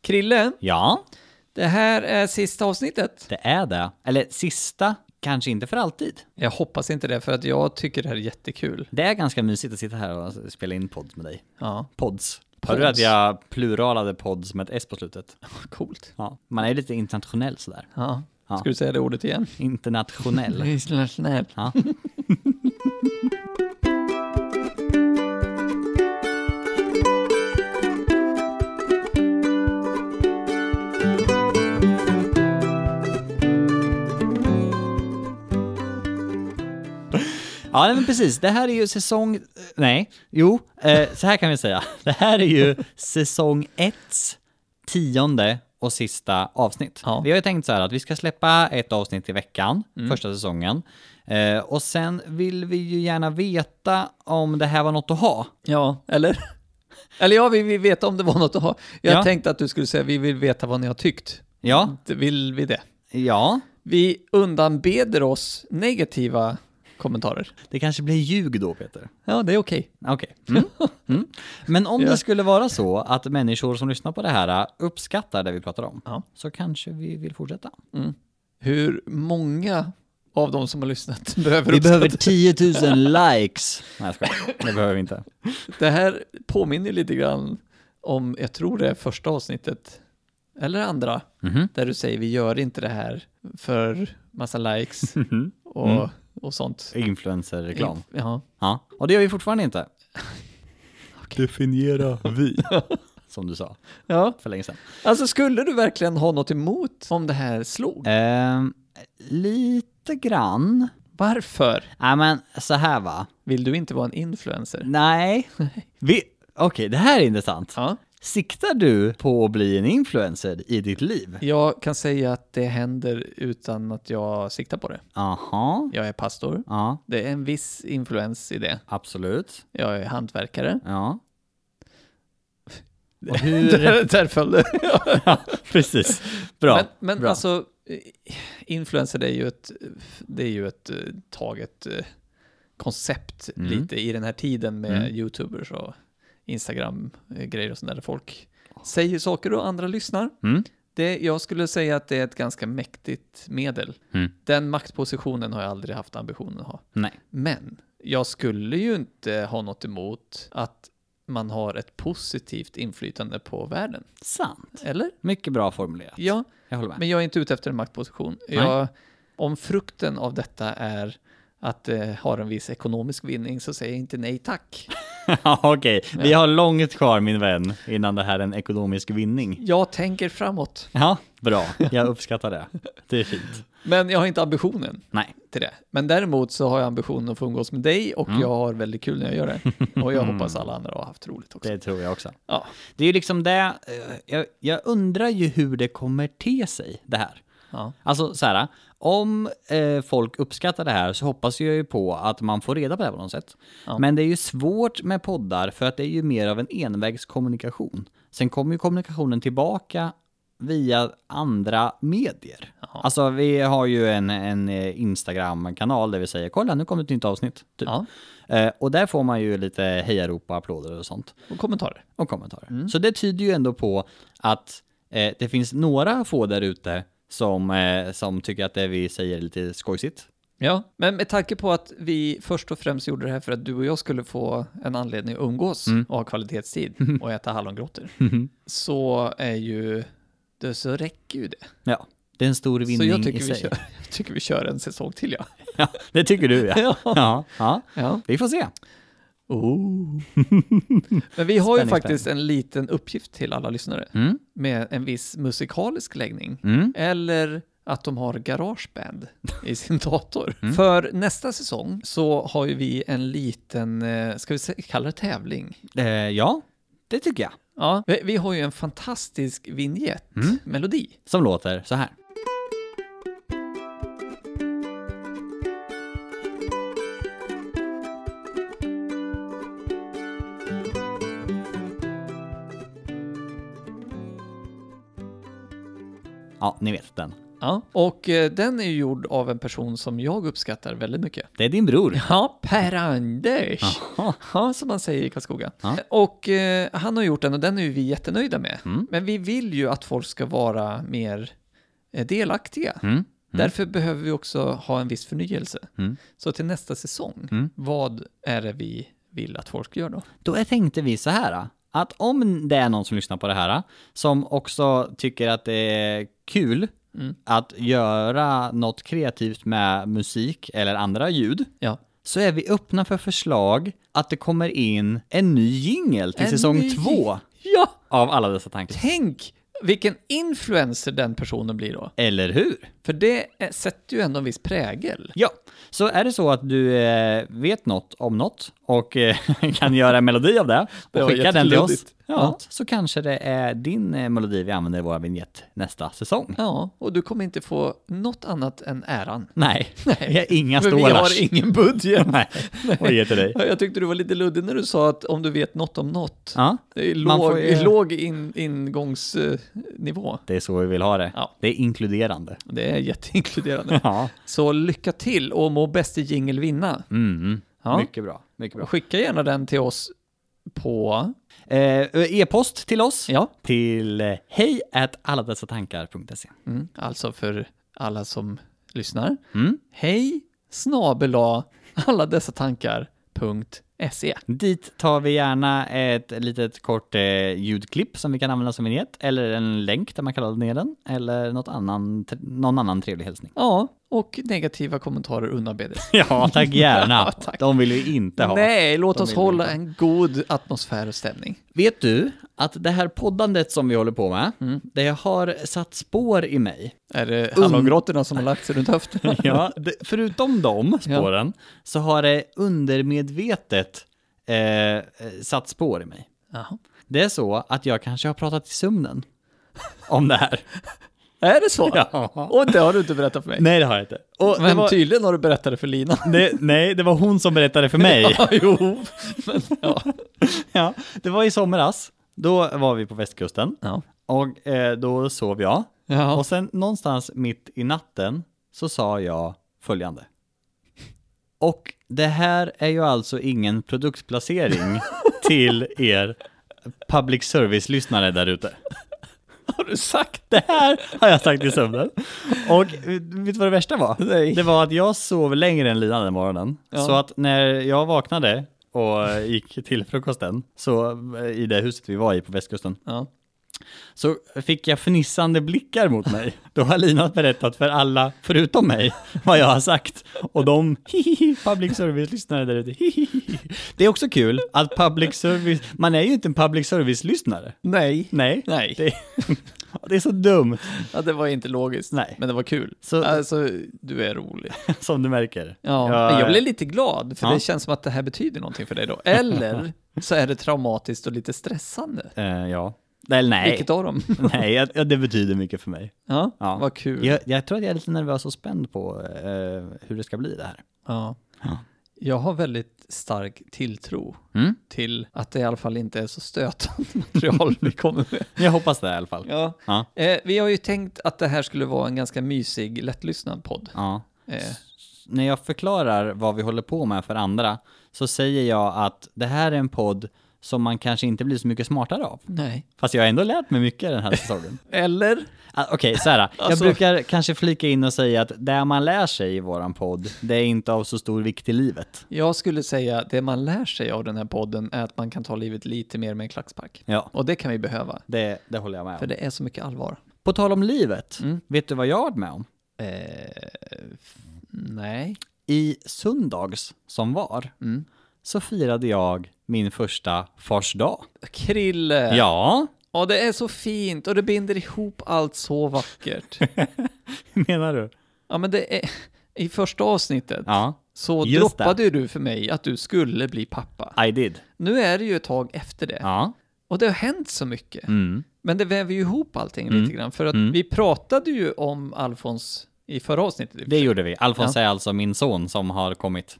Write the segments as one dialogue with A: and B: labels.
A: Krille,
B: Ja,
A: det här är sista avsnittet.
B: det är det. Eller sista, kanske inte för alltid.
A: Jag hoppas inte det, för att jag tycker det här är jättekul.
B: Det är ganska mysigt att sitta här och spela in podd med dig.
A: Ja,
B: Pods. Hörde du att
A: Pods.
B: jag pluralade pods med ett s på slutet?
A: coolt.
B: Ja, man är lite internationell sådär.
A: Ja.
B: Ja.
A: Ska du säga det ordet igen?
B: Internationell. Ja. Ja, nej, men precis. Det här är ju säsong... Nej, jo, eh, så här kan vi säga. Det här är ju säsong etts tionde och sista avsnitt.
A: Ja.
B: Vi har ju tänkt så här att vi ska släppa ett avsnitt i veckan, första säsongen. Eh, och sen vill vi ju gärna veta om det här var något att ha.
A: Ja, eller? Eller ja, vi vill veta om det var något att ha. Jag
B: Ja.
A: tänkte att du skulle säga vi vill veta vad ni har tyckt.
B: Ja,
A: Det- Vill vi det?
B: ja.
A: Vi undanbeder oss negativa kommentarer.
B: Det kanske blir ljug då, Peter.
A: Ja, det är okej.
B: Okej. Mm. Mm. Men om
A: Ja.
B: det skulle vara så att människor som lyssnar på det här uppskattar det vi pratar om,
A: Ja.
B: så kanske vi vill fortsätta.
A: Hur många av de som har lyssnat behöver
B: Vi behöver
A: uppskatta-
B: 10 000 likes. Nej, jag skojar. Det behöver vi inte.
A: Det här påminner lite grann om, jag tror det är första avsnittet, eller andra,
B: Mhm.
A: där du säger vi gör inte det här för massa likes
B: Mhm.
A: och,
B: Mm.
A: och sånt.
B: Influencer-reklam.
A: Ja,
B: Ja. Och det gör vi fortfarande inte,
C: Definiera vi.
B: som du sa
A: ja.
B: för länge sedan.
A: Alltså skulle du verkligen ha något emot om det här slog?
B: Ehm, lite grann.
A: Varför
B: Nej, men så här va.
A: vill du inte vara en influencer?
B: Nej. Vi... Okej, det här är intressant.
A: Ja.
B: Siktar du på att bli en influencer i ditt liv?
A: Jag kan säga att det händer utan att jag siktar på det.
B: Aha.
A: Jag är pastor.
B: Ja,
A: Det är en viss influens i det.
B: absolut.
A: Jag är hantverkare.
B: Ja. Och
A: Där, där föll det.
B: Precis. Bra.
A: men men
B: bra.
A: alltså, eh, influencer det är ju ett, det är ju ett eh, taget eh, koncept
B: Mm.
A: lite i den här tiden med
B: Mm.
A: YouTubers och Instagram-grejer och sådär där folk säger saker och andra lyssnar.
B: Mm.
A: Det, jag skulle säga att det är ett ganska mäktigt medel.
B: Mm.
A: Den maktpositionen har jag aldrig haft ambitionen att ha.
B: Nej.
A: Men jag skulle ju inte ha något emot att man har ett positivt inflytande på världen.
B: Sant.
A: Eller?
B: Mycket bra formulerat.
A: Ja,
B: Jag håller med.
A: men jag är inte ute efter en maktposition. Jag, om frukten av detta är att eh, har en viss ekonomisk vinning så säger jag inte nej tack.
B: Ja, Okej, vi har långt kvar min vän innan det här är en ekonomisk vinning.
A: Jag tänker framåt,
B: Ja, bra. Jag uppskattar det. Det är fint.
A: men jag har inte ambitionen
B: Nej.
A: till det. Men däremot så har jag ambitionen att få umgås med dig och jag har väldigt kul när jag gör det. Och jag hoppas alla andra har haft roligt också.
B: Det tror jag också.
A: Ja,
B: Det är ju liksom det, eh, jag, jag undrar ju hur det kommer te sig det här.
A: ja,
B: Alltså så här, om eh, folk uppskattar det här så hoppas jag ju på att man får reda på det här på något sätt.
A: Ja.
B: Men det är ju svårt med poddar för att det är ju mer av en envägskommunikation. Sen kommer ju kommunikationen tillbaka via andra medier.
A: Jaha.
B: Alltså vi har ju en, en eh, Instagram-kanal där vi säger kolla nu kommer ett nytt avsnitt. Typ.
A: ja.
B: Eh, och där får man ju lite hejarop och applåder och sånt
A: Och kommentarer.
B: och kommentarer.
A: Mm.
B: Så det tyder ju ändå på att eh, det finns några få där ute som, eh, som tycker att det vi säger är lite skojsigt.
A: Ja, men med tanke på att vi först och främst gjorde det här för att du och jag skulle få en anledning att umgås
B: Mm.
A: och ha kvalitetstid och äta hallongrottor, så är ju det så räcker ju det.
B: Ja, det är en stor
A: Så
B: vinning
A: jag tycker,
B: i
A: vi
B: sig.
A: kör, jag tycker vi kör en säsong till, ja.
B: Ja, det tycker du ja.
A: Ja.
B: ja. ja.
A: ja.
B: Vi får se.
A: Men vi har ju
B: Spänning,
A: faktiskt en liten uppgift till alla lyssnare
B: Mm.
A: med en viss musikalisk läggning.
B: Mm.
A: Eller att de har garageband i sin dator. För nästa säsong så har ju vi en liten, eh, ska vi se- kalla det tävling?
B: Eh, ja, det tycker jag.
A: Ja, vi, vi har ju en fantastisk vignett, melodi.
B: Som låter så här. Ja, ni vet den.
A: Ja. Och eh, den är ju gjord av en person som jag uppskattar väldigt mycket.
B: Det är din bror.
A: Ja, Per-Anders! Ja, som man säger i Karlskoga.
B: Ja.
A: Och eh, han har gjort den och den är ju vi jättenöjda med. Men vi vill ju att folk ska vara mer eh, delaktiga.
B: Mm.
A: Därför behöver vi också ha en viss förnyelse.
B: Mm.
A: Så till nästa säsong,
B: Mm.
A: vad är det vi vill att folk gör då?
B: Då tänkte vi så här att om det är någon som lyssnar på det här som också tycker att det är kul att göra något kreativt med musik eller andra ljud
A: Ja.
B: så är vi öppna för förslag att det kommer in en ny jingel till
A: En ny
B: säsong två
A: jing- Ja!
B: av alla dessa tankar.
A: Tänk vilken influencer den personen blir då.
B: Eller hur?
A: För det eh, sätter ju ändå en viss prägel.
B: Ja, så är det så att du eh, vet något om något och eh, kan göra en melodi av det
A: Det
B: och
A: var
B: skicka den till oss,
A: jätteluddigt.
B: ja,
A: Ja.
B: så kanske det är din eh, melodi vi använder i vår vignett nästa säsong.
A: Ja, och du kommer inte få något annat än äran.
B: Nej,
A: Nej.
B: vi har inga
A: För vi har
B: stålars.
A: ingen budget.
B: Nej, vad ger till dig.
A: Ja, Jag tyckte du var lite luddig när du sa att om du vet något om något.
B: Ja,
A: Det är
B: Man får
A: låg,
B: ju-
A: låg in, ingångsnivå.
B: det är så vi vill ha det.
A: Ja.
B: Det är inkluderande.
A: Det är jätteinkluderande.
B: Ja,
A: Så lycka till och må bäste jingel vinna.
B: mm.
A: Ja.
B: mycket bra. Mycket bra.
A: Skicka gärna den till oss på...
B: Eh, E-post till oss
A: Ja,
B: till eh, hej at alladessatankar.se.
A: mm, alltså för alla som lyssnar.
B: Mm.
A: Hej snabela alla dessa tankar.se.
B: Dit tar vi gärna ett litet kort eh, ljudklipp som vi kan använda som vignett, eller en länk där man kan ladda ner den, eller något annan, tre- någon annan trevlig hälsning.
A: Ja, och negativa kommentarer undanbedes.
B: Ja, tack gärna.
A: Ja, tack.
B: De vill vi inte ha.
A: Nej, låt
B: de
A: oss
B: vill vi
A: hålla
B: inte.
A: en god atmosfär och stämning.
B: Vet du att det här poddandet som vi håller på med, det har satt spår i mig.
A: Är det hallongrottorna som har lagt sig runt höfterna?
B: Ja, det, förutom de spåren så har det undermedvetet eh, eh, satt spår i mig.
A: Jaha.
B: Det är så att jag kanske har pratat i sömnen om det här.
A: Är det så?
B: Ja.
A: Och det har du inte berättat för mig.
B: Nej, det har jag inte. Och det
A: Men
B: var,
A: tydligen har du berättat det för Lina.
B: det, nej, det var hon som berättade för mig.
A: Ja, jo. Men, ja.
B: ja, det var i somras. Då var vi på västkusten
A: Ja.
B: och eh, då sov jag.
A: Ja.
B: Och sen någonstans mitt i natten så sa jag följande. Och det här är ju alltså ingen produktplacering till er public service-lyssnare där ute.
A: Har du sagt
B: Det här har jag sagt i sömnen. Och eh, vet du vad det värsta var?
A: Nej.
B: Det var att jag sov längre än Lina den morgonen.
A: Ja.
B: Så att när jag vaknade och eh, gick till frukosten, så eh, i det huset vi var i på västkusten,
A: Ja.
B: så fick jag fnissande blickar mot mig. Då har Lina berättat för alla, förutom mig, vad jag har sagt. Och de, hihihi, public service-lyssnare där ute, hihihi. Det är också kul att public service, man är ju inte en public service-lyssnare.
A: Nej.
B: Nej.
A: Nej.
B: Det, det är så dumt.
A: Ja, det var inte logiskt.
B: Nej.
A: Men det var kul.
B: Så-
A: Alltså, du är rolig.
B: Som du märker.
A: Ja.
B: Ja,
A: men jag
B: ja.
A: blev lite glad, för
B: Ja.
A: det känns som att det här betyder någonting för dig då. Eller så är det traumatiskt och lite stressande.
B: Eh, ja. Eller nej.
A: Vilket av dem?
B: nej, jag, ja, det betyder mycket för mig.
A: Ja,
B: Ja.
A: vad kul.
B: Jag, jag tror att jag är lite nervös och spänd på eh, hur det ska bli det här.
A: Ja.
B: Ja. Mm.
A: Jag har väldigt stark tilltro till att det i alla fall inte är så stötande material vi kommer med.
B: Jag hoppas det i alla fall.
A: Ja.
B: Ja.
A: Eh, vi har ju tänkt att det här skulle vara en ganska mysig, lättlyssnad podd.
B: Ja.
A: Eh,
B: När jag förklarar vad vi håller på med för andra så säger jag att det här är en podd som man kanske inte blir så mycket smartare av.
A: nej.
B: Fast jag har ändå lärt mig mycket den här säsongen.
A: Eller?
B: Ah, Okej, så här. Jag
A: Alltså-
B: brukar kanske flika in och säga att det man lär sig i våran podd, det är inte av så stor vikt i livet.
A: Jag skulle säga att det man lär sig av den här podden är att man kan ta livet lite mer med en klackspark.
B: Ja,
A: Och det kan vi behöva,
B: det, det håller jag med om.
A: för det är så mycket allvar.
B: På tal om livet, vet du vad jag har varit med om?
A: Eh, Nej.
B: I söndags som var, så firade jag min första fars dag.
A: Krille!
B: Äh. Ja,
A: Och det är så fint och det binder ihop allt så vackert.
B: menar du?
A: ja, men det är... I första avsnittet
B: Ja,
A: så
B: just
A: droppade ju du för mig att du skulle bli pappa.
B: I did.
A: Nu är det ju ett tag efter det.
B: Ja.
A: Och det har hänt så mycket.
B: Mm.
A: Men det väver ju ihop allting lite grann. För att
B: Mm.
A: vi pratade ju om Alfons i förra avsnittet.
B: Det gjorde vi. Alfons är alltså min son som har kommit.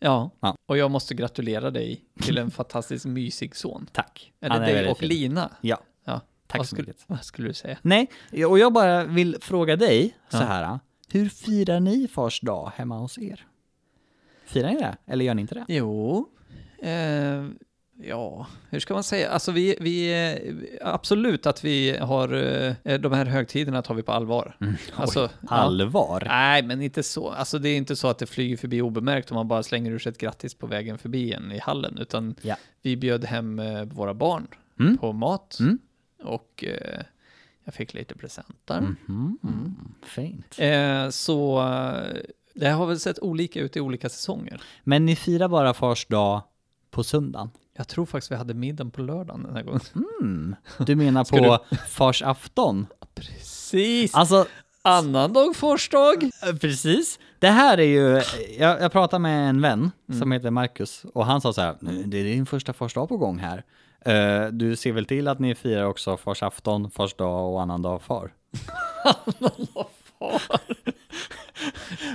A: Ja.
B: Ja.
A: Och jag måste gratulera dig till en fantastiskt mysig son.
B: Tack.
A: Eller dig
B: väldigt
A: och
B: fin.
A: Lina.
B: Ja.
A: Ja.
B: Tack
A: vad
B: så
A: skulle,
B: mycket.
A: Vad skulle du säga?
B: Nej, och jag bara vill fråga dig
A: Ja.
B: så här. Hur firar ni fars dag hemma hos er? Firar ni det? Eller gör ni inte det?
A: Jo, eh, ja, hur ska man säga? Alltså vi, vi eh, absolut att vi har, eh, de här högtiderna tar vi på allvar. Alltså, ja.
B: Mm, Allvar?
A: Nej, men inte så. Alltså det är inte så att det flyger förbi obemärkt om man bara slänger ur sig ett grattis på vägen förbi en i hallen, utan
B: Ja.
A: vi bjöd hem eh, våra barn
B: Mm.
A: på mat
B: Mm.
A: och eh, jag fick lite presenter. Mm.
B: Mhm. Fint.
A: Eh, så eh, det har väl sett olika ut i olika säsonger.
B: Men ni firar bara fars dag på söndagen?
A: Jag tror faktiskt vi hade middagen på lördagen den här gången.
B: Mm. Du menar
A: Ska
B: på fars afton?
A: Precis!
B: Alltså,
A: Annandag farsdag.
B: Eh, Precis. Det här är ju, eh, jag, jag pratade med en vän som heter Marcus och han sa så här, "Nu, det är din första fars dag på gång här. Eh, du ser väl till att ni firar också fars afton, fars dag och annan dag far?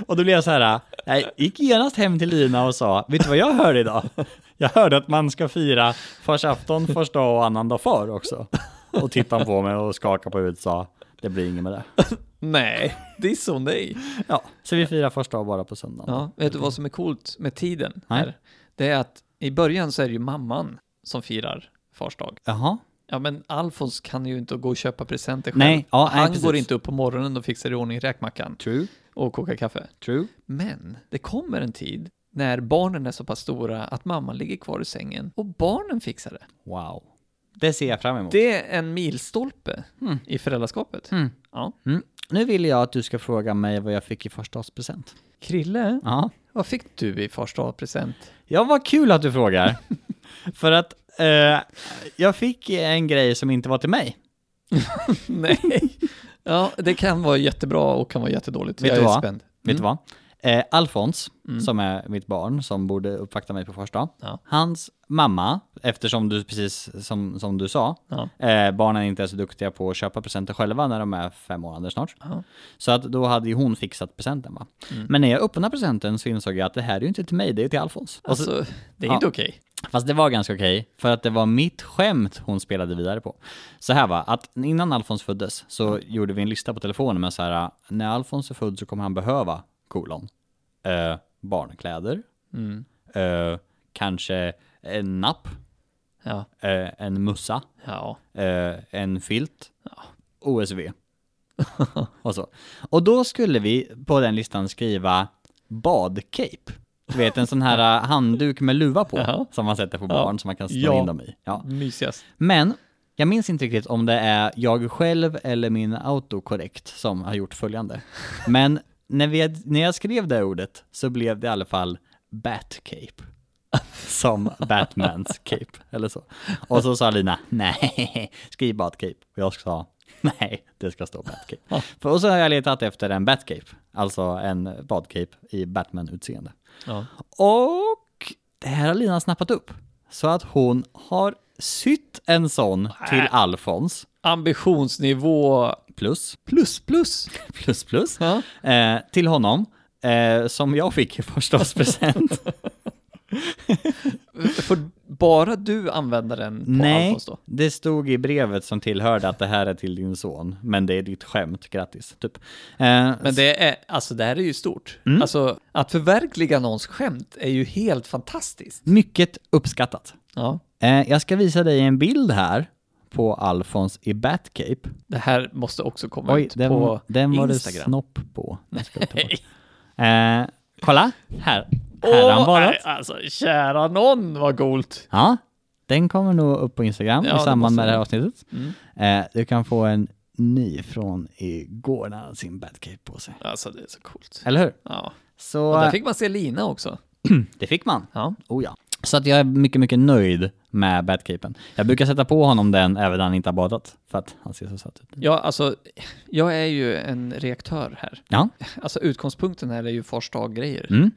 B: Och då blev jag så här, jag gick genast hem till Lina och sa, vet du vad jag hörde idag? Jag hörde att man ska fira fars afton, fars dag och annan dag far också. Och tittade på mig och skakade på huvudet och sa, det blir inget med det.
A: Nej, det är så nej.
B: Ja, så vi firar fars dag bara på söndagen.
A: Ja, vet du vad som är coolt med tiden?
B: Nej.
A: Här? Det är att i början så är det ju mamman som firar fars dag.
B: Jaha.
A: Ja, men Alfons kan ju inte gå och köpa presenter själv.
B: Nej, ja, nej,
A: Han
B: precis.
A: går inte upp på morgonen och fixar i ordning räkmackan
B: True.
A: och kokar kaffe.
B: True.
A: Men det kommer en tid när barnen är så pass stora att mamman ligger kvar i sängen och barnen fixar
B: Mm.
A: det.
B: Wow. Det ser jag fram emot.
A: Det är en milstolpe i föräldraskapet.
B: Mm.
A: Ja.
B: Mm. Nu vill jag att du ska fråga mig vad jag fick i förstadspresent.
A: Krille,
B: Ja.
A: vad fick du i fars dag-present?
B: Ja, vad kul att du frågar. För att eh, jag fick en grej som inte var till mig.
A: Nej. Ja, det kan vara jättebra och kan vara jättedåligt.
B: Vet
A: jag
B: du
A: är
B: vad?
A: spänd.
B: Vet du vad? Eh, Alfons, som är mitt barn, som borde uppvakta mig på första.
A: Ja.
B: Hans mamma, eftersom du precis som, som du sa,
A: Ja.
B: eh, barnen inte är så duktiga på att köpa presenter själva när de är fem månader snart.
A: Ja.
B: Så att då hade ju hon fixat presenten va. Men när jag öppnade presenten så insåg jag att det här är ju inte till mig, det är till Alfons. Och så-
A: Alltså, det är inte okej.
B: Fast det var ganska okej, för att det var mitt skämt hon spelade vidare på. Så här va, att innan Alfons föddes så gjorde vi en lista på telefonen med så här, när Alfons är född så kommer han behöva, kolon, eh, barnkläder,
A: Mm.
B: eh, kanske en napp,
A: Ja.
B: eh, en mussa,
A: ja.
B: eh, en filt, OSV. och, så. och då skulle vi på den listan skriva badcape. Du vet en sån här eh, handduk med luva på
A: Jaha.
B: som man sätter på barn som man kan snurra
A: Ja.
B: in dem i. Ja.
A: Mysigast.
B: Men jag minns inte riktigt om det är jag själv eller min autokorrekt som har gjort följande. Men när, vi, när jag skrev det här ordet så blev det i alla fall Batcape. Som Batmans cape, eller så. Och så sa Lina, nej, skriv Batcape. Och jag sa, nej, det ska stå Batcape. För, och så har jag letat efter en Batcape, alltså en badcape i Batman-utseende.
A: Ja.
B: Och det här har Lina snappat upp. Så att hon har sytt en sån
A: Äh.
B: till Alfons.
A: Ambitionsnivå
B: Plus,
A: plus plus.
B: plus, plus.
A: Ja.
B: Eh, till honom. Eh, som jag fick i förstaårspresent.
A: Får bara du använda den på
B: Nej,
A: Alfons då?
B: det stod i brevet som tillhörde att det här är till din son. Men det är ditt skämt, grattis. Typ. Eh,
A: Men det, är, alltså det här är ju stort.
B: Mm.
A: Alltså, att förverkliga någons skämt är ju helt fantastiskt.
B: Mycket uppskattat.
A: Ja.
B: Eh, jag ska visa dig en bild här på Alfons i Batcape.
A: Det här måste också komma
B: Oj,
A: ut
B: den,
A: på
B: den var det
A: Instagram.
B: snopp på. Den ska vi ta bort. Eh, kolla, här. Här har han
A: Åh,
B: varit.
A: nej, alltså, kära någon vad coolt.
B: Ja, den kommer nog upp på Instagram
A: Ja,
B: i
A: det
B: samband
A: måste
B: med det här
A: den. Mm.
B: avsnittet. Eh, du kan få en ny från igår när han hade sin badcape på sig.
A: Alltså, det är så coolt.
B: Eller hur?
A: Ja.
B: Så
A: Och där fick man se Lina också.
B: det fick man.
A: Ja.
B: Oh ja. Så att jag är mycket, mycket nöjd med badcapen. Jag brukar sätta på honom den även när han inte har badat, för att han ser så söt ut.
A: Ja, alltså, jag är ju en reaktör här.
B: Ja,
A: Alltså utgångspunkten här är ju fars grejer
B: mm.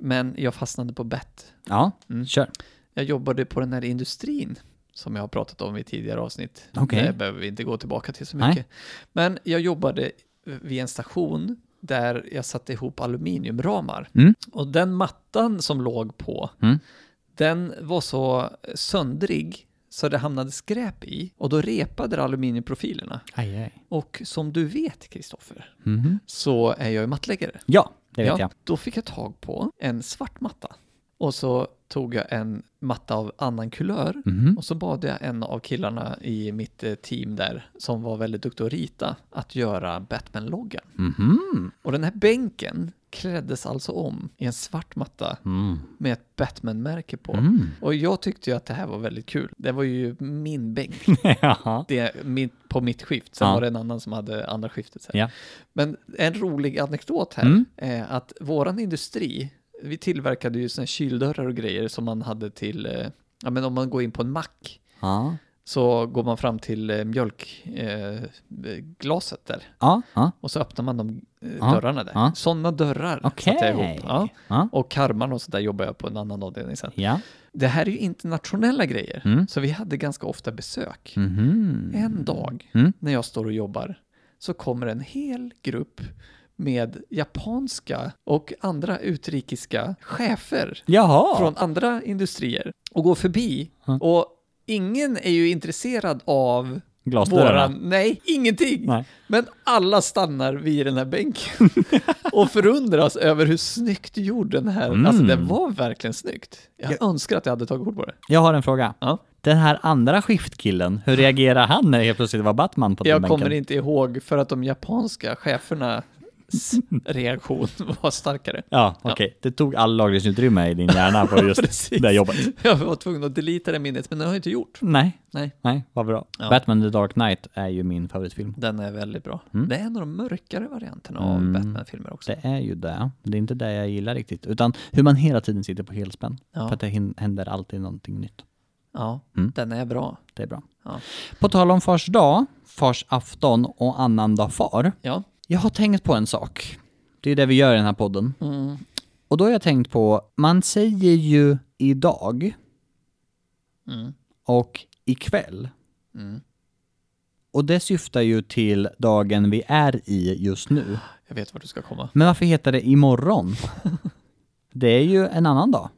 A: Men jag fastnade på bett.
B: ja.
A: Mm.
B: kör.
A: Jag jobbade på den här industrin som jag har pratat om i tidigare avsnitt.
B: Okej.
A: Det behöver vi inte gå tillbaka till så
B: Nej.
A: mycket. Men jag jobbade vid en station där jag satte ihop aluminiumramar.
B: Mm.
A: Och den mattan som låg på,
B: Mm.
A: den var så söndrig så det hamnade skräp i och då repade det aluminiumprofilerna.
B: Aj, aj.
A: Och som du vet, Kristoffer, så är jag ju mattläggare.
B: Mhm. Ja, det vet jag.
A: Då fick jag tag på en svart matta. Och så tog jag en matta av annan kulör
B: Mhm.
A: och så bad jag en av killarna i mitt eh, team där, som var väldigt duktig att rita, att göra Batman-loggan.
B: Mhm.
A: Och den här bänken kläddes alltså om i en svart matta
B: Mm.
A: med ett Batman-märke på.
B: Mm.
A: Och jag tyckte ju att det här var väldigt kul. Det var ju min bänk
B: Jaha.
A: det, mitt, på mitt skift. Sen
B: Ja.
A: var det en annan som hade andra skiftet. Sen.
B: Ja.
A: Men en rolig anekdot här
B: Mm.
A: är att våran industri, vi tillverkade ju såna här kyldörrar och grejer som man hade till, eh, ja men om man går in på en mack
B: Ja.
A: så går man fram till eh, mjölkglaset där
B: Ja. Ja.
A: och så öppnar man de eh,
B: Ja.
A: dörrarna där.
B: Ja.
A: Sådana dörrar
B: Okej.
A: satte jag ihop. Ja.
B: Ja.
A: Och karmarna och sådär jobbar jag på en annan avdelning sen.
B: Ja.
A: Det här är ju internationella grejer,
B: Mm.
A: så vi hade ganska ofta besök.
B: Mhm.
A: En dag
B: Mm.
A: när jag står och jobbar så kommer en hel grupp med japanska och andra utrikiska chefer
B: Jaha.
A: från andra industrier och går förbi.
B: Ja.
A: Och ingen är ju intresserad av
B: Glasdörrarna.
A: våran, nej, ingenting.
B: Nej.
A: Men alla stannar vid den här bänken och förundras över hur snyggt gjord den här,
B: Mm.
A: alltså det var verkligen snyggt. Jag, önskar att jag hade tagit kort på det.
B: Jag har en fråga.
A: Ja.
B: Den här andra skiftkillen, hur reagerar han när det helt plötsligt var Batman på den
A: Jag
B: bänken?
A: kommer inte ihåg för att de japanska chefernas reaktion var starkare.
B: Ja, okej. Det tog all lagringsutrymme i din hjärna på just
A: Precis.
B: det jobbet.
A: Jag var tvungen att delita det minnet, men det har jag inte gjort.
B: Nej,
A: Nej,
B: nej, vad bra.
A: Ja.
B: Batman the Dark Knight är ju min favoritfilm.
A: den är väldigt bra. Det är en av de mörkare varianterna av
B: Mm.
A: Batman-filmer också.
B: Det är ju det. Det är inte det jag gillar riktigt, utan hur man hela tiden sitter på helspänn.
A: Ja.
B: För att det hin- händer alltid någonting nytt.
A: Ja,
B: Mm.
A: den är bra.
B: Det är bra.
A: Ja.
B: På tal om fars dag, fars afton och annandag far.
A: Ja.
B: Jag har tänkt på en sak. Det är det vi gör i den här podden.
A: Mm.
B: Och då har jag tänkt på, man säger ju idag
A: Mm.
B: och ikväll.
A: Mm.
B: Och det syftar ju till dagen vi är i just nu.
A: Jag vet vart du ska komma.
B: Men varför heter det imorgon? Det är ju en annan dag.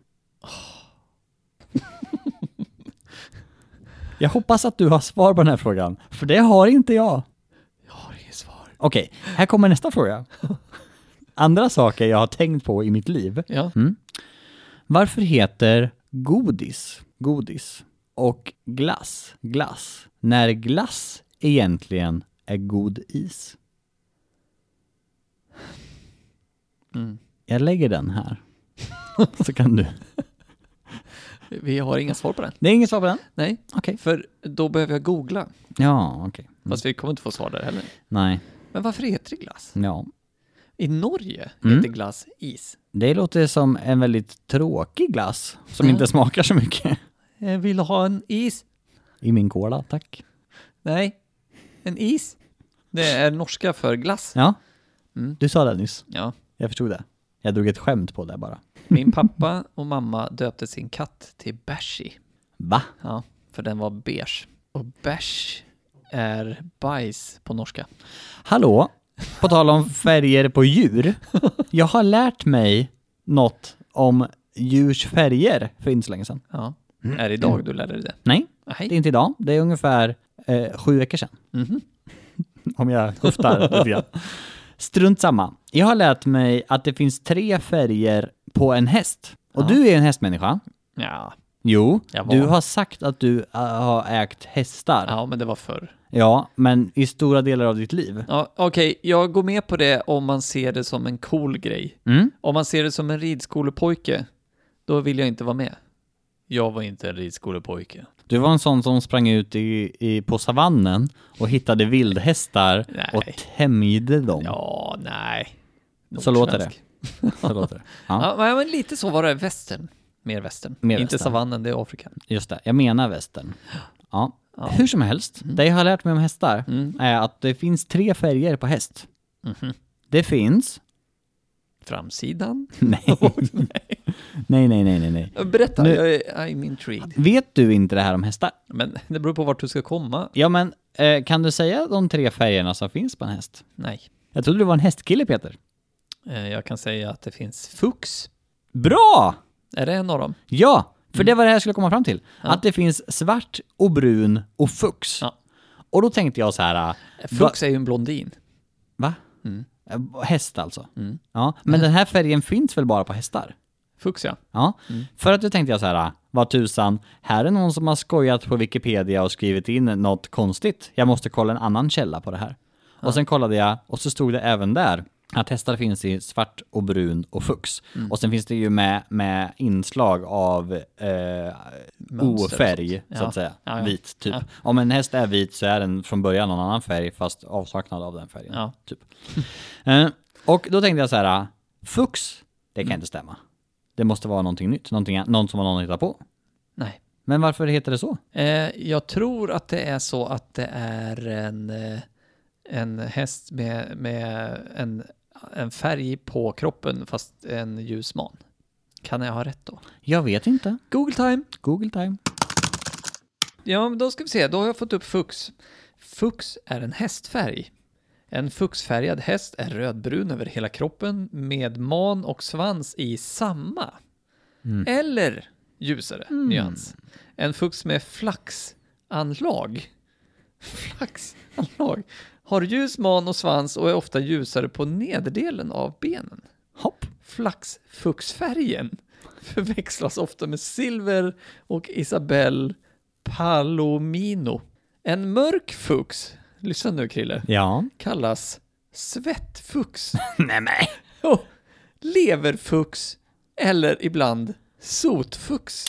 B: Jag hoppas att du har svar på den här frågan, för det har inte jag.
A: Jag har inget svar.
B: Okej, här kommer nästa fråga. Andra saker jag har tänkt på i mitt liv.
A: Ja.
B: Varför heter godis godis och glass glass när glass egentligen är god is?
A: Mm.
B: Jag lägger den här. Så kan du.
A: Vi har inga svar på den.
B: Det är inget svar på den?
A: Nej,
B: Okej.
A: för då behöver jag googla.
B: Ja, okej. Mm.
A: Fast vi kommer inte få svar där heller.
B: Nej,
A: Men varför heter det glass?
B: ja.
A: I Norge
B: Mm.
A: heter glass is.
B: Det låter som en väldigt tråkig glass som inte smakar så mycket.
A: Jag Eh, vill ha en is.
B: I min cola, tack.
A: Nej, en is. Det är norska för glass.
B: Ja,
A: Mm.
B: du sa det nyss.
A: Ja.
B: Jag förstod det. Jag drog ett skämt på det bara.
A: Min pappa och mamma döpte sin katt till Bashy.
B: Va?
A: Ja, för den var beige. Och bärs är bajs på norska.
B: Hallå? På tal om färger på djur. Jag har lärt mig något om djurs färger för inte så länge sedan.
A: Ja.
B: Mm.
A: Är det idag du lärde dig det?
B: Nej, det är
A: Nej.
B: inte idag. Det är ungefär eh, sju veckor sedan.
A: Mhm.
B: Om jag höftar lite grann. Strunt samma. Jag har lärt mig att det finns tre färger på en häst. Och
A: Ja.
B: du är en hästmänniska.
A: Ja.
B: Jo,
A: Jag var.
B: du har sagt att du äh, har ägt hästar. Ja.
A: ja, men det var förr.
B: men i stora delar av ditt liv.
A: Ja, Okej, jag går med på det om man ser det som en cool grej.
B: Mm.
A: Om man ser det som en ridskolepojke, då vill jag inte vara med. Jag var inte en ridskolepojke.
B: Du var en sån som sprang ut i, i, på savannen och hittade vildhästar
A: Nej.
B: och tämjde dem.
A: Ja, nej.
B: Så låter det.
A: Nordsvensk.
B: Så låter det. Ja,
A: Ja, men- men lite så var det. Västern. Mer västern.
B: Mer
A: inte
B: västern.
A: savannen, det är Afrika.
B: just det. Jag menar västern. Ja. Hur som helst, det jag har lärt mig om hästar är att det finns tre färger på häst. Mhm. Det finns...
A: Framsidan.
B: Nej. nej, nej, nej, nej, nej.
A: Berätta,
B: Nu-
A: jag är, I'm intrigued.
B: Vet du inte det här om hästar?
A: Men det beror på vart du ska komma.
B: Ja, men eh, kan du säga de tre färgerna som finns på en häst?
A: Nej.
B: Jag trodde du var en hästkille, Peter.
A: Eh, Jag kan säga att det finns fux.
B: Bra!
A: Är det en av dem?
B: Ja, För det var det här jag skulle komma fram till.
A: Mm. Ja.
B: Att det finns svart och brun och fux.
A: Ja.
B: Och då tänkte jag så här... äh, va-
A: Fux Eh, är ju en blondin.
B: Va?
A: Mm.
B: Äh, Häst alltså?
A: Mm.
B: Ja. Men den här färgen finns väl bara på hästar?
A: Fux ja.
B: Ja,
A: Mm.
B: för att då tänkte jag så här, vad tusan, här är någon som har skojat på Wikipedia och skrivit in något konstigt. Jag måste kolla en annan källa på det här. Och sen kollade jag och så stod det även där att hästar finns i svart och brun och fux.
A: Mm.
B: Och sen finns det ju med, med inslag av eh,
A: Mönster och
B: ofärg,
A: sånt.
B: så
A: Ja.
B: att säga.
A: Ja, ja.
B: Vit, typ.
A: Ja.
B: Om en häst är vit så är den från början någon annan färg, fast avsaknad av den färgen.
A: Ja.
B: Typ. Eh, och då tänkte jag så här, fux, det kan inte stämma. Det måste vara någonting nytt, någonting, någon som har någon hittat på.
A: Nej.
B: Men varför heter det så?
A: Eh, jag tror att det är så att det är en, eh, en häst med, med en, en färg på kroppen fast en ljus man. Kan jag ha rätt då?
B: Jag vet inte.
A: Google time!
B: Google time.
A: Ja, men då ska vi se. Då har jag fått upp fux. Fux är en hästfärg. En fuxfärgad häst är rödbrun över hela kroppen med man och svans i samma eller ljusare nyans. En fux med flaxanlag flaxanlag har ljus man och svans och är ofta ljusare på nederdelen av benen.
B: Hopp.
A: Flaxfuxfärgen förväxlas ofta med silver och Isabel Palomino. En mörk fux, lyssna nu Krille,
B: Ja.
A: kallas svettfux,
B: nej, nej.
A: och leverfux eller ibland sotfux.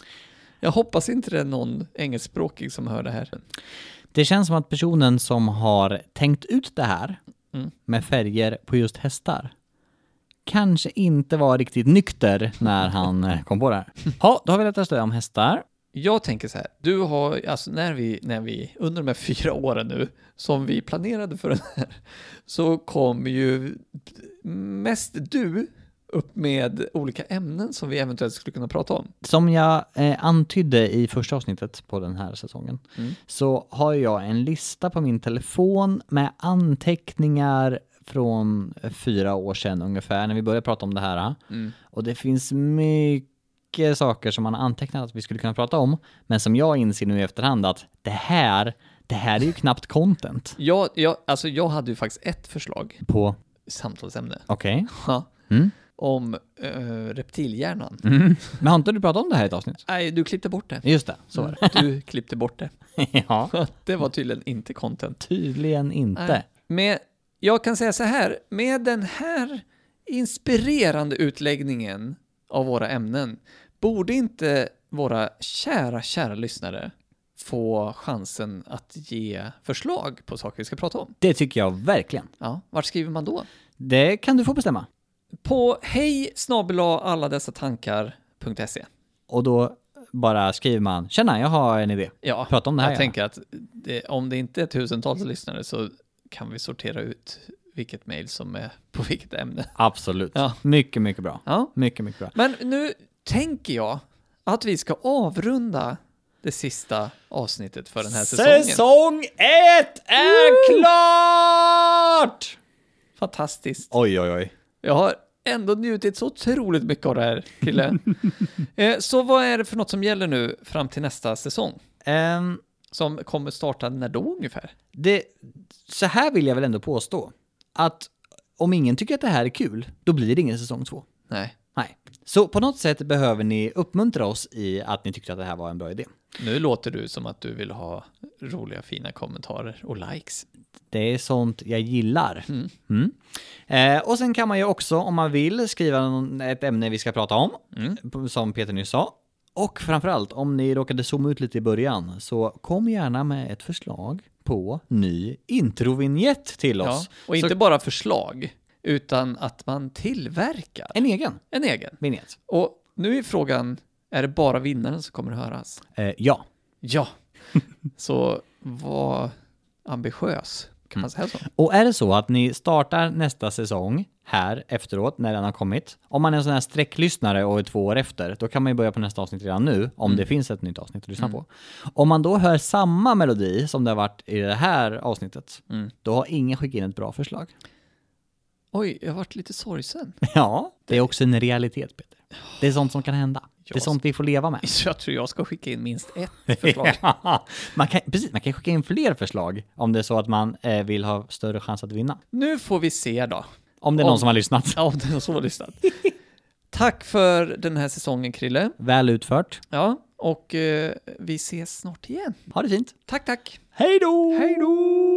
A: Jag hoppas inte det är någon engelskspråkig som hör det här.
B: Det känns som att personen som har tänkt ut det här
A: Mm.
B: med färger på just hästar kanske inte var riktigt nykter när han eh, kom på det här. Ja, då har vi lättast det om hästar.
A: Jag tänker så här, du har, alltså när vi, när vi, under de här fyra åren nu, som vi planerade för den här, så kommer ju mest du upp med olika ämnen som vi eventuellt skulle kunna prata om.
B: Som jag eh, antydde i första avsnittet på den här säsongen
A: Mm.
B: så har jag en lista på min telefon med anteckningar från fyra år sedan ungefär när vi började prata om det här. Och det finns mycket saker som man har antecknat att vi skulle kunna prata om men som jag inser nu i efterhand att det här, det här är ju knappt content
A: Jag, jag, alltså jag hade ju faktiskt ett förslag,
B: på...
A: samtalsämne,
B: Okej.
A: ja,
B: Mm.
A: om eh, reptilhjärnan.
B: Men har inte du pratat om det här i ett avsnitt?
A: Nej, du klippte bort det.
B: Just det, så var
A: Du klippte bort det.
B: det. ja.
A: Det var tydligen inte content.
B: Tydligen inte.
A: Med, jag kan säga så här, med den här inspirerande utläggningen av våra ämnen, borde inte våra kära, kära lyssnare få chansen att ge förslag på saker vi ska prata om?
B: Det tycker jag verkligen.
A: Ja, vart skriver man då?
B: Det kan du få bestämma.
A: På hej alla dessa tankar.se.
B: Och då bara skriver man “Tjena, jag har en idé”.
A: Ja,
B: Prata om det här,
A: jag
B: ja.
A: tänker att det, om det inte är tusentals lyssnare så kan vi sortera ut vilket mejl som är på vilket ämne.
B: Absolut.
A: Ja.
B: Mycket, mycket bra.
A: Ja,
B: Mycket, mycket bra.
A: Men nu tänker jag att vi ska avrunda det sista avsnittet för den här säsongen.
B: Säsong ett är klart!
A: Fantastiskt.
B: Oj, oj, oj.
A: Jag har ändå njutit så otroligt mycket av det här, Krille. Eh, så vad är det för något som gäller nu fram till nästa säsong?
B: Ehm,
A: Som kommer starta när då ungefär?
B: det, så här vill jag väl ändå påstå. Att om ingen tycker att det här är kul, då blir det ingen säsong två.
A: Nej,
B: Nej. Så på något sätt behöver ni uppmuntra oss i att ni tyckte att det här var en bra idé.
A: nu låter du som att du vill ha roliga fina kommentarer och likes.
B: Det är sånt jag gillar. Mm. Eh, och sen kan man ju också, om man vill, skriva någon, ett ämne vi ska prata om,
A: Mm.
B: p- som Peter nyss sa. Och framförallt, om ni råkade zooma ut lite i början, så kom gärna med ett förslag på ny introvinjett till
A: Ja,
B: oss.
A: och inte bara förslag, utan att man tillverkar
B: En egen
A: en egen.
B: vinjett.
A: Och nu är frågan, är det bara vinnaren som kommer att höras?
B: Eh, ja.
A: Ja. Så var ambitiös, kan man säga så?
B: Och är det så att ni startar nästa säsong här efteråt när den har kommit. Om man är en sån här sträcklyssnare och är två år efter, då kan man ju börja på nästa avsnitt redan nu om det finns ett nytt avsnitt att lyssna på. Om man då hör samma melodi som det har varit i det här avsnittet, då har ingen skickat in ett bra förslag.
A: Oj, jag vart lite sorgsen.
B: Ja, det är också en realitet Peter. Det är sånt som kan hända. Det är sånt vi får leva med.
A: Jag tror jag ska skicka in minst ett förslag.
B: man, kan, precis, man kan skicka in fler förslag om det är så att man eh, vill ha större chans att vinna.
A: Nu får vi se då.
B: Om det är
A: Om-
B: någon som har lyssnat.
A: Ja, om det är någon som har lyssnat. Tack för den här säsongen, Krille.
B: Väl utfört.
A: Ja, och eh, vi ses snart igen.
B: Ha det fint.
A: Tack, tack.
B: Hej då!
A: då!